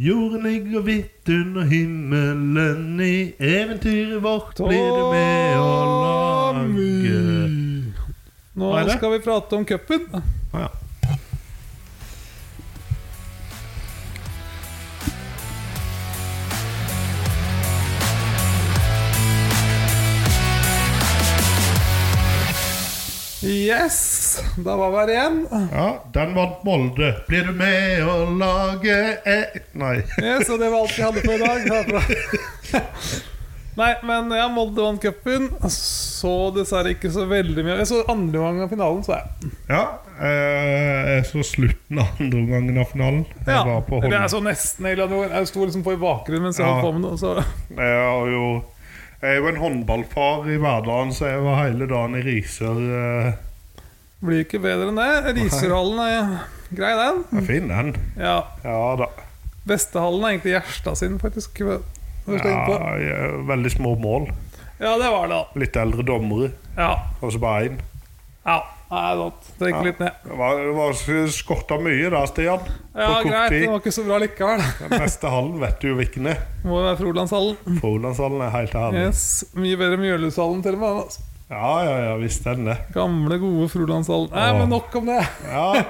Jorden ligger hvitt under himmelen. I eventyret vårt blir du med å lage Tommy! Nå Hva er det? skal vi prate om cupen. ah, ja. Yes! Da var vi her igjen. ja, den vant Molde. Blir du med å lage e Nei. Yes, og det var alt vi hadde for i dag. Herfra. Nei, men ja, Molde vant cupen. Så dessverre ikke så veldig mye. Jeg så andre gang av finalen, så jeg. Ja, eh, jeg så slutten av andre omgangen av finalen. Jeg Ja, altså- var på eller Holmen. jeg så nesten hele andre gangen. Jeg sto liksom på i bakgrunnen mens jeg Ja. holdt på med noe. Så. Jeg har jo jeg er jo en håndballfar i hverdagen, så jeg var hele dagen i Risør. eh, Blir ikke bedre enn det. Riserhallen er grei, den. Jeg finner den. Ja, Ja da. Bestehallen er egentlig Gjerstad sin, faktisk. når du skal inn på. Ja, jeg- veldig små mål. Ja, det var det, da. Litt eldre dommere, Ja. og så bare én. ja. Det er sant. Det gikk litt ned. Det var, det var skorta mye der, Stian. På Ja, kort greit. tid. Det var ikke så bra likevel. Den beste hallen vet du jo hvilken er. Må jo være Frolandshallen. Frolandshallen er helt herlig. Yes, Mye bedre enn Mjølhushallen, til og med. Altså. Ja, ja, ja, visst er den det. Gamle, gode Frolandshallen. Nei, Åh. men nok om det. Ja,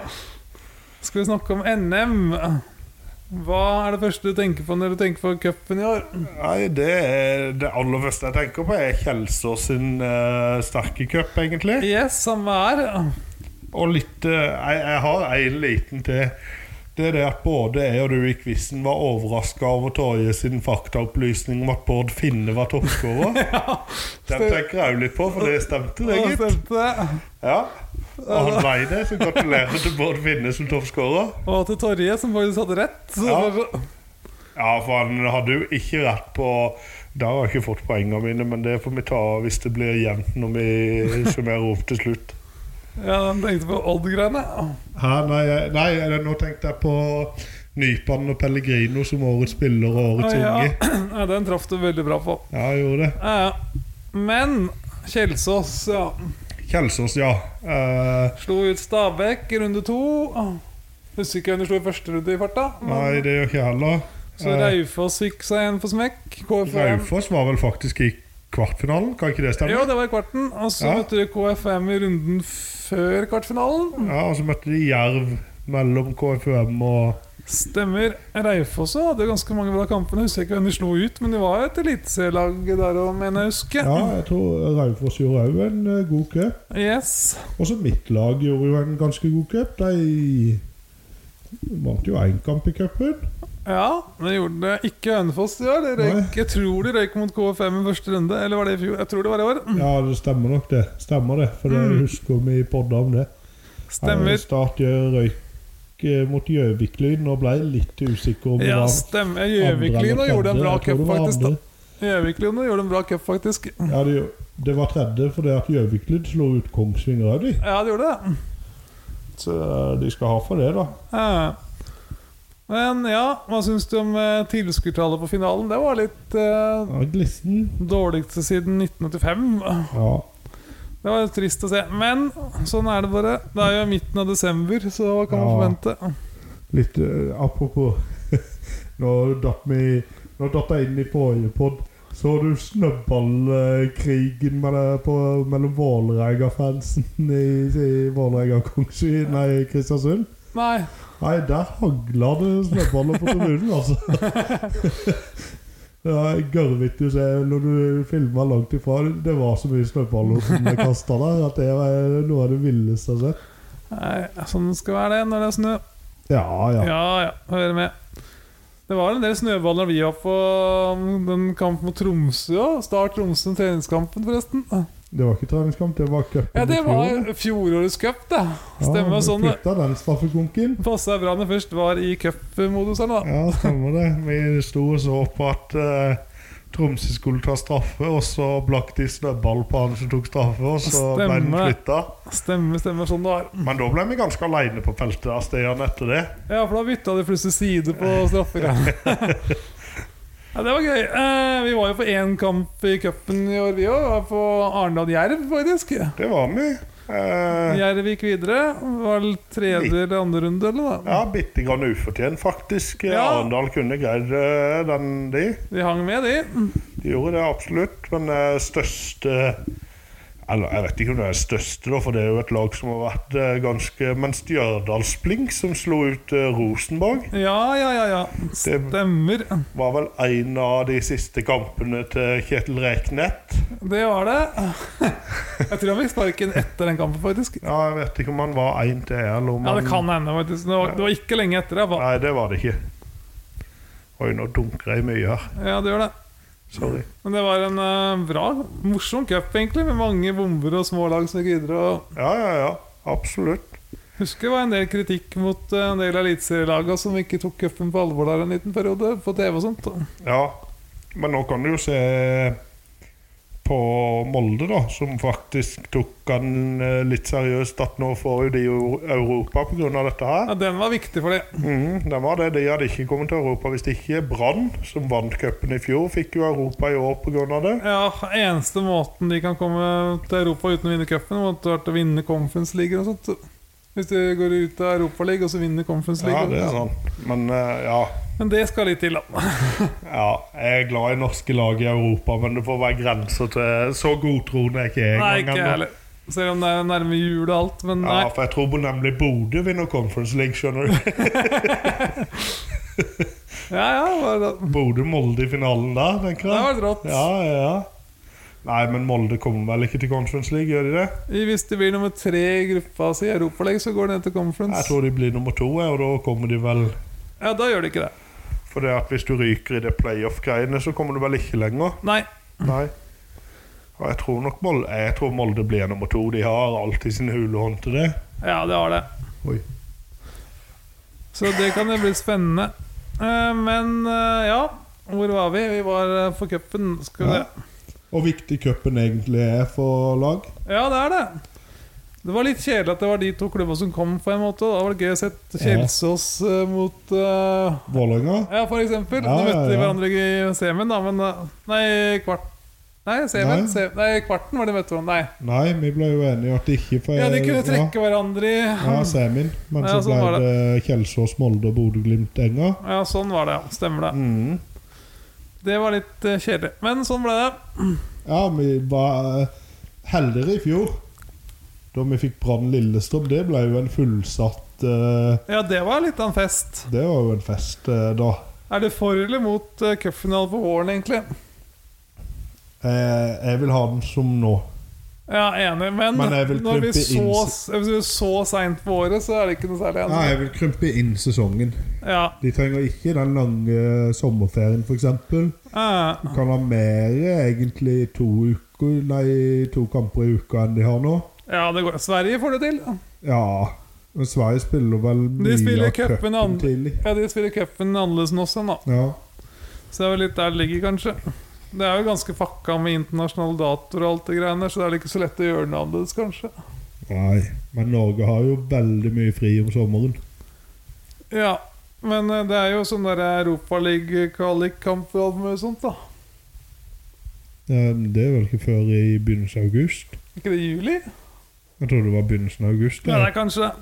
Skal vi snakke om NM? Hva er det første du tenker på når du tenker på cupen i år? nei, det, er det aller første jeg tenker på, er Kjelsås sin eh, sterke cup, egentlig. Yes, samme her. Og litt eh, jeg, jeg har en liten til. Det er det at både jeg og du i quizen var overraska over Torje sin faktaopplysning om at Bård Finne var toppskårer. Den tenker jeg òg litt på, for det stemte, det, Og gitt. stemte det. Ja. Og han vei det, så gratulerer til Bård Finne som toppskårer. Og til Torje, som faktisk hadde rett. Så Ja. bare- Ja, for han hadde jo ikke rett på Da har jeg ikke fått poengene mine, men det får vi ta hvis det blir jevnt når vi summerer opp til slutt. ja, han tenkte på Odd-greiene. Hæ, nei, jeg- nei, jeg- nå tenkte jeg på Nypan og Pellegrino som årets spiller og årets Ja, unge. ja, den traff du veldig bra på. Ja, jeg gjorde det. Ja, ja. Men Kjelsås ja. Kjelsås, ja. Eh, slo ut Stabæk i runde to. Ah. Husker ikke hvem de slo i første runde i farta. men- nei, det gjør ikke jeg heller. Eh, Så Raufoss fikk seg en på smekk. KFM. Raufoss var vel faktisk i kvartfinalen, kan ikke det stemme? Jo, det var i kvarten. Og så Ja. møtte de KFM i runden før kvartfinalen. Ja, Og så møtte de Jerv mellom KFUM og Stemmer. Raufoss også hadde ganske mange bra kamper. Jeg husker ikke hvem de slo ut, men de var jo et eliteserielag der òg, mener jeg å huske. Ja, jeg tror Raufoss gjorde òg en eh, god cup. Yes. Også mitt lag gjorde jo en ganske god cup. De vant jo én kamp i cupen. Ja, det gjorde det ikke Hønefoss i år. De røyk, jeg tror de røyk mot KFM i første runde. Eller var det i fjor? Jeg tror det var i år. Ja, det stemmer nok det. Stemmer det, For det Mm. husker vi podda om det. Ja, Stemmer. Start gjør røyk eh, mot Gjøvik-Lyn og ble litt usikker om Ja, det stemmer. var andre eller Gjøvik-Lyn gjorde en tredje. bra Jeg tror cup, det var faktisk. da andre. Gjøvik-Lyn gjorde en bra cup, faktisk. Ja, det, det var tredje fordi at Gjøvik-Lyn slo ut Kongsvinger òg, de. Ja, det gjorde det. Så eh, de skal ha for det, da. Ja. Men ja, hva syns du om eh, tilskuertallet på finalen? Det var litt eh, Ja, Glissen. dårligste siden 1985. Ja. Det var trist å se. Men sånn er det bare. Det er jo midten av desember, så hva kan man forvente? Litt eh, apropos Nå datt vi Nå datt jeg inn i forrige pod. Så du snøballkrigen med det på- mellom Vålerenga-fansen i, i Vålerenga og Kongsvinger? Nei, Kristiansund? Nei. Nei, der hagla det snøballer på tribunen, altså. Det var gørrvittig å se når du filma langt ifra. Det var så mye snøballer som ble kasta der at det var noe av det villeste jeg har sett. Nei, sånn skal være det når det er snø. Ja, ja. Ja ja, hører med. Det var en del snøballer vi var på mm, den kampen mot Tromsø òg. Start Tromsø treningskampen, forresten. Det var ikke treningskamp, det var cupen Ja, det i fjor. var fjorårets cup, det. Stemmer ja, sånn, det. Putta den straffekonken. Passa bra når først var i cupmodus her, da. Ja, stemmer det. Vi sto og så på at eh, Tromsø skulle ta straffe, og så blakk de snøball på han som tok straffe, og så ble den Stemmer. flytta. Stemmer, stemmer sånn det var. Men da ble vi ganske aleine på feltet av Stian etter det. Ja, for da bytta de plutselig side på straffegreiene. ja, det var gøy. Eh, vi var jo på én kamp i cupen i år, vi òg. På Arendal Jerv, faktisk. Det var vi. Eh, Gjervik videre. Var det tredje eller andre runde, eller? da? ja, bitte grann ufortjent, faktisk. Ja. Arendal kunne greid eh, den, de. De hang med, de. De gjorde det absolutt, men eh, største Eller jeg vet ikke om det er største, da, for det er jo et lag som har vært eh, ganske Men Stjørdalsblink, som slo ut eh, Rosenborg, Ja, ja, ja. ja. Stemmer. var vel en av de siste kampene til Kjetil Reknett. Det var det. Jeg tror han fikk sparken etter den kampen, faktisk. Ja, jeg vet ikke om han var én til, eller om Ja, han det kan hende, faktisk. Det var, det var ikke lenge etter. Det. Nei, det var det ikke. Oi, nå dunker jeg mye her. Ja, det gjør det. Sorry. Men det var en eh, bra, morsom cup, egentlig, med mange bomber og små lag som gikk videre. Og Ja, ja, ja. Absolutt. husker det var en del kritikk mot eh, en del av eliteserielagene som ikke tok cupen på alvor der en liten periode, på TV og sånt. Ja. Men nå kan du jo se på Molde, da, som faktisk tok han eh, litt seriøst at nå får jo de Eu- Europa pga. dette her. Ja, den var viktig for dem. Mm, det var det. De hadde ikke kommet til Europa hvis det ikke Brann, som vant cupen i fjor, fikk jo Europa i år pga. det. Ja, eneste måten de kan komme til Europa uten å vinne cupen, måtte vært å vinne Conference League og sånt. Hvis de går ut av Europa League og så vinner Conference League. Ja, det er sant. Men eh, ja. Men det skal litt til, da. ja. Jeg er glad i norske lag i Europa, men det får være grenser til Så godtroende er ikke jeg Nei, engang ikke jeg ennå. heller. Selv om det er nærme jul og alt, men nei. Ja, for jeg tror nemlig Bodø vinner Conference League, skjønner du. Ja, ja, bare, det Bodø-Molde i finalen der, tenker hadde jeg. vært rått. Ja, ja, ja. Nei, men Molde kommer vel ikke til Conference League, gjør de det? Hvis det blir nummer tre i gruppa si i Europa League, så går det ned til Jeg Conference. tror de blir nummer to, jeg, og da kommer de vel Ja, da gjør det ikke det. For det at hvis du ryker i det playoff-greiene, så kommer du vel ikke lenger? Nei. Nei. Og jeg tror nok Molde, jeg tror Molde blir nummer to. De har alltid sin hulehånd til det. Ja, det har det. Oi. Så det kan jo bli spennende. Eh, Men eh, ja, hvor var vi? Vi var eh, for cupen. Skal vi Ja. Og viktig cupen egentlig er for lag. Ja, det er det. Det var litt kjedelig at det var de to klubba som kom. på en måte Da var det gøy å se Kjelsås eh, mot eh, Vålerenga. Ja, for eksempel. Ja, Nå møtte ja, de ja. hverandre i semien, da, men eh, Nei, kvart... Nei, semien. Nei. Nei. nei, kvarten var de møtte hverandre. Nei. Nei, vi ble jo enige at det ikke får Ja, de kunne trekke hverandre i Eh, Ja, ja semien. Men Ja, så sånn var ble det Kjelsås, Molde og Bodø-Glimt-Enga. Ja, sånn var det, ja. Stemmer det. Mm. Det var litt eh, kjedelig. Men sånn ble det. Ja, vi var eh, heldigere i fjor. Da vi fikk Brann Lillestrøm. Det ble jo en fullsatt eh, Ja, det var litt av en fest. Det var jo en fest eh, da. Er du for eller mot eh, cupfinale på våren, egentlig? Eh, jeg vil ha den som nå. Ja, enig, men, Men jeg vil når vi krympe inn- så, hvis vi er så seint på året, så er det ikke noe særlig Ja, igjen. jeg vil krympe inn sesongen. Ja. De trenger ikke den lange sommerferien, f.eks. Eh, Kan ha mer egentlig to, uker, nei, to kamper i uka enn de har nå. ja, det går. Sverige får det til. Ja, men Sverige spiller vel mye spiller av cupen cupen an- tidlig. Ja, De spiller cupen annerledes enn oss igjen, da. Ja. Så det er vel litt der det ligger, kanskje. Det er jo ganske fakka med internasjonale datoer og alt det greiene der, så det er vel ikke så lett å gjøre noe annerledes, kanskje. Nei, men Norge har jo veldig mye fri om sommeren. Ja, men eh, det er jo sånn derre Europaliga-kvalikkamp og alt mulig sånt, da. Eh, Det er vel ikke før i begynnelsen av august. Er ikke det i juli? Jeg tror det var begynnelsen av august. Ja, Ja. det er kanskje det.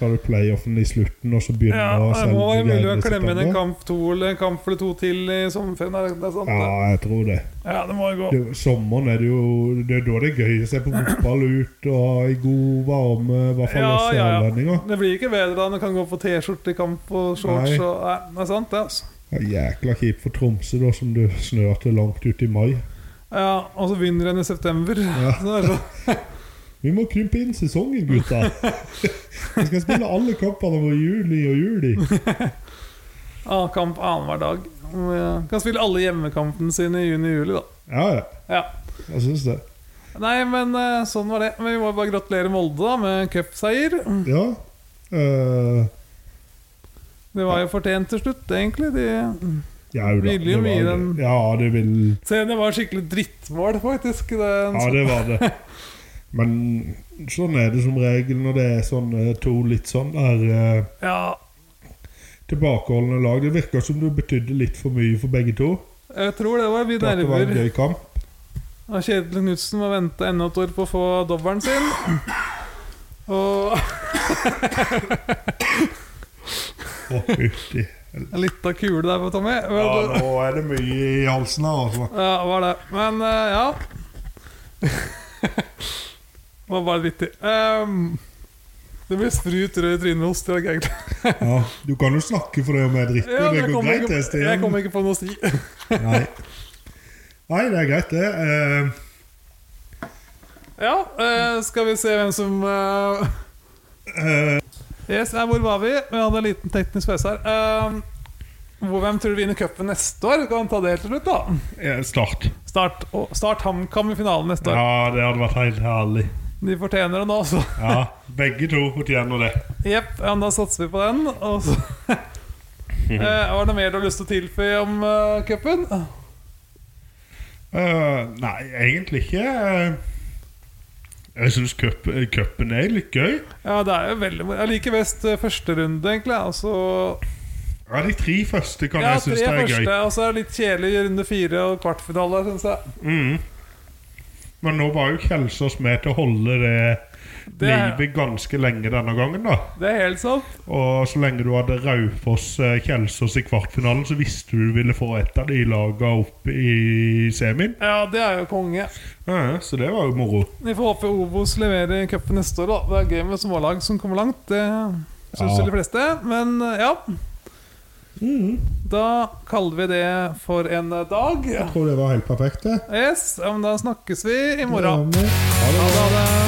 Så har du playoffen i slutten, og så begynner Ja, det må være selve mulig å greiene i klemme inn en september. kamp to eller en kamp eller to til i sommerferien. er Det det er sant, Ja, det. jeg tror det. Ja, det må jo gå. det. Sommeren er det jo Det er da det er gøy å se på fotball ut og ha i god varme, i hvert fall Ja, oss ja, ja. sørlendinger. Det blir ikke bedre da når du kan gå på T-skjorte i kamp og shorts. Nei. Og, nei, det er sant, det. altså Det er Jækla kjipt for Tromsø, da, som det snør til langt ut i mai. ja, Og så begynner den i september. Så det er sånn. Vi må krympe inn sesongen, gutta! Vi skal spille alle kampene våre i juli og juli. ah, kamp annenhver dag. Ja, Kan spille alle hjemmekampene sine i juni-juli, da. Ja, ja. Ja. Jeg syns det. Nei, men eh, sånn var det. Men vi må bare gratulere Molde da med cupseier. Ja. eh, Det var jo fortjent til slutt, egentlig. De, ja, jo da, Ville jo det mye var- den- Ja, det vil se, det var skikkelig drittmål, faktisk. Det, Ja, det var det. Men sånn er det som regel når det er sånne to litt sånn der eh, ja, tilbakeholdne lag. Det virker som du betydde litt for mye for begge to. Jeg tror det var mye At det var en nerver. gøy kamp. Og Kjetil Knutsen må vente enda et år på å få dobbelen sin. Og Å, uti. en lita kule der på Tommy. Men, Ja, nå er det mye i halsen her, altså. Ja, det var det. Men eh, ja. det var bare vittig. Ehm, det blir sprut rød i trynet hos Dag egentlig. Ja, du kan jo snakke for det om jeg drikker. Ja, men det jeg går kommer greit, det, ikke, Stian. jeg kommer ikke på noe å si. Nei. Nei, det er greit, det. Eh, Ja, eh, skal vi se hvem som eh, Eh. Yes, nei, hvor var vi? Vi hadde en liten teknisk pause her. Ehm, hvor- hvem tror du vinner cupen neste år? Kan ta det til slutt, da. eh, Start. Start, og- start HamKam i finalen neste år. Ja, det hadde vært helt herlig. De fortjener det nå, så Ja, Begge to fortjener det. jepp. Ja, men da satser vi på den. Og så Eh, Var det mer du har lyst til å tilføye om uh, cupen? Eh, nei, egentlig ikke. Eh, Jeg syns cup- eh, cupen er litt gøy. Ja, det er jo veldig moro. Jeg liker best eh, første runde, egentlig. Altså, Ja, De tre første kan ja, jeg tre synes det er første, gøy. og så er det litt kjedelig i runde fire og kvartfinale, syns jeg. Mhm. Men nå var jo Kjelsås med til å holde det, Det er- livet ganske lenge denne gangen, da. Det er helt sant. Og så lenge du hadde Raufoss-Kjelsås i kvartfinalen, så visste du du ville få et av de laga opp i semien. Ja, det er jo konge. Ja, så det var jo moro. Vi får håpe Obos leverer i cupen neste år, da. Det er gøy med smålag som kommer langt. Det Ja. syns Mm. jo de fleste. Men eh, ja. Da kaller vi det for en eh, dag. Jeg tror det var helt perfekt, det. Yes, ja, men da snakkes vi i Ja, morgen. men- Ha det.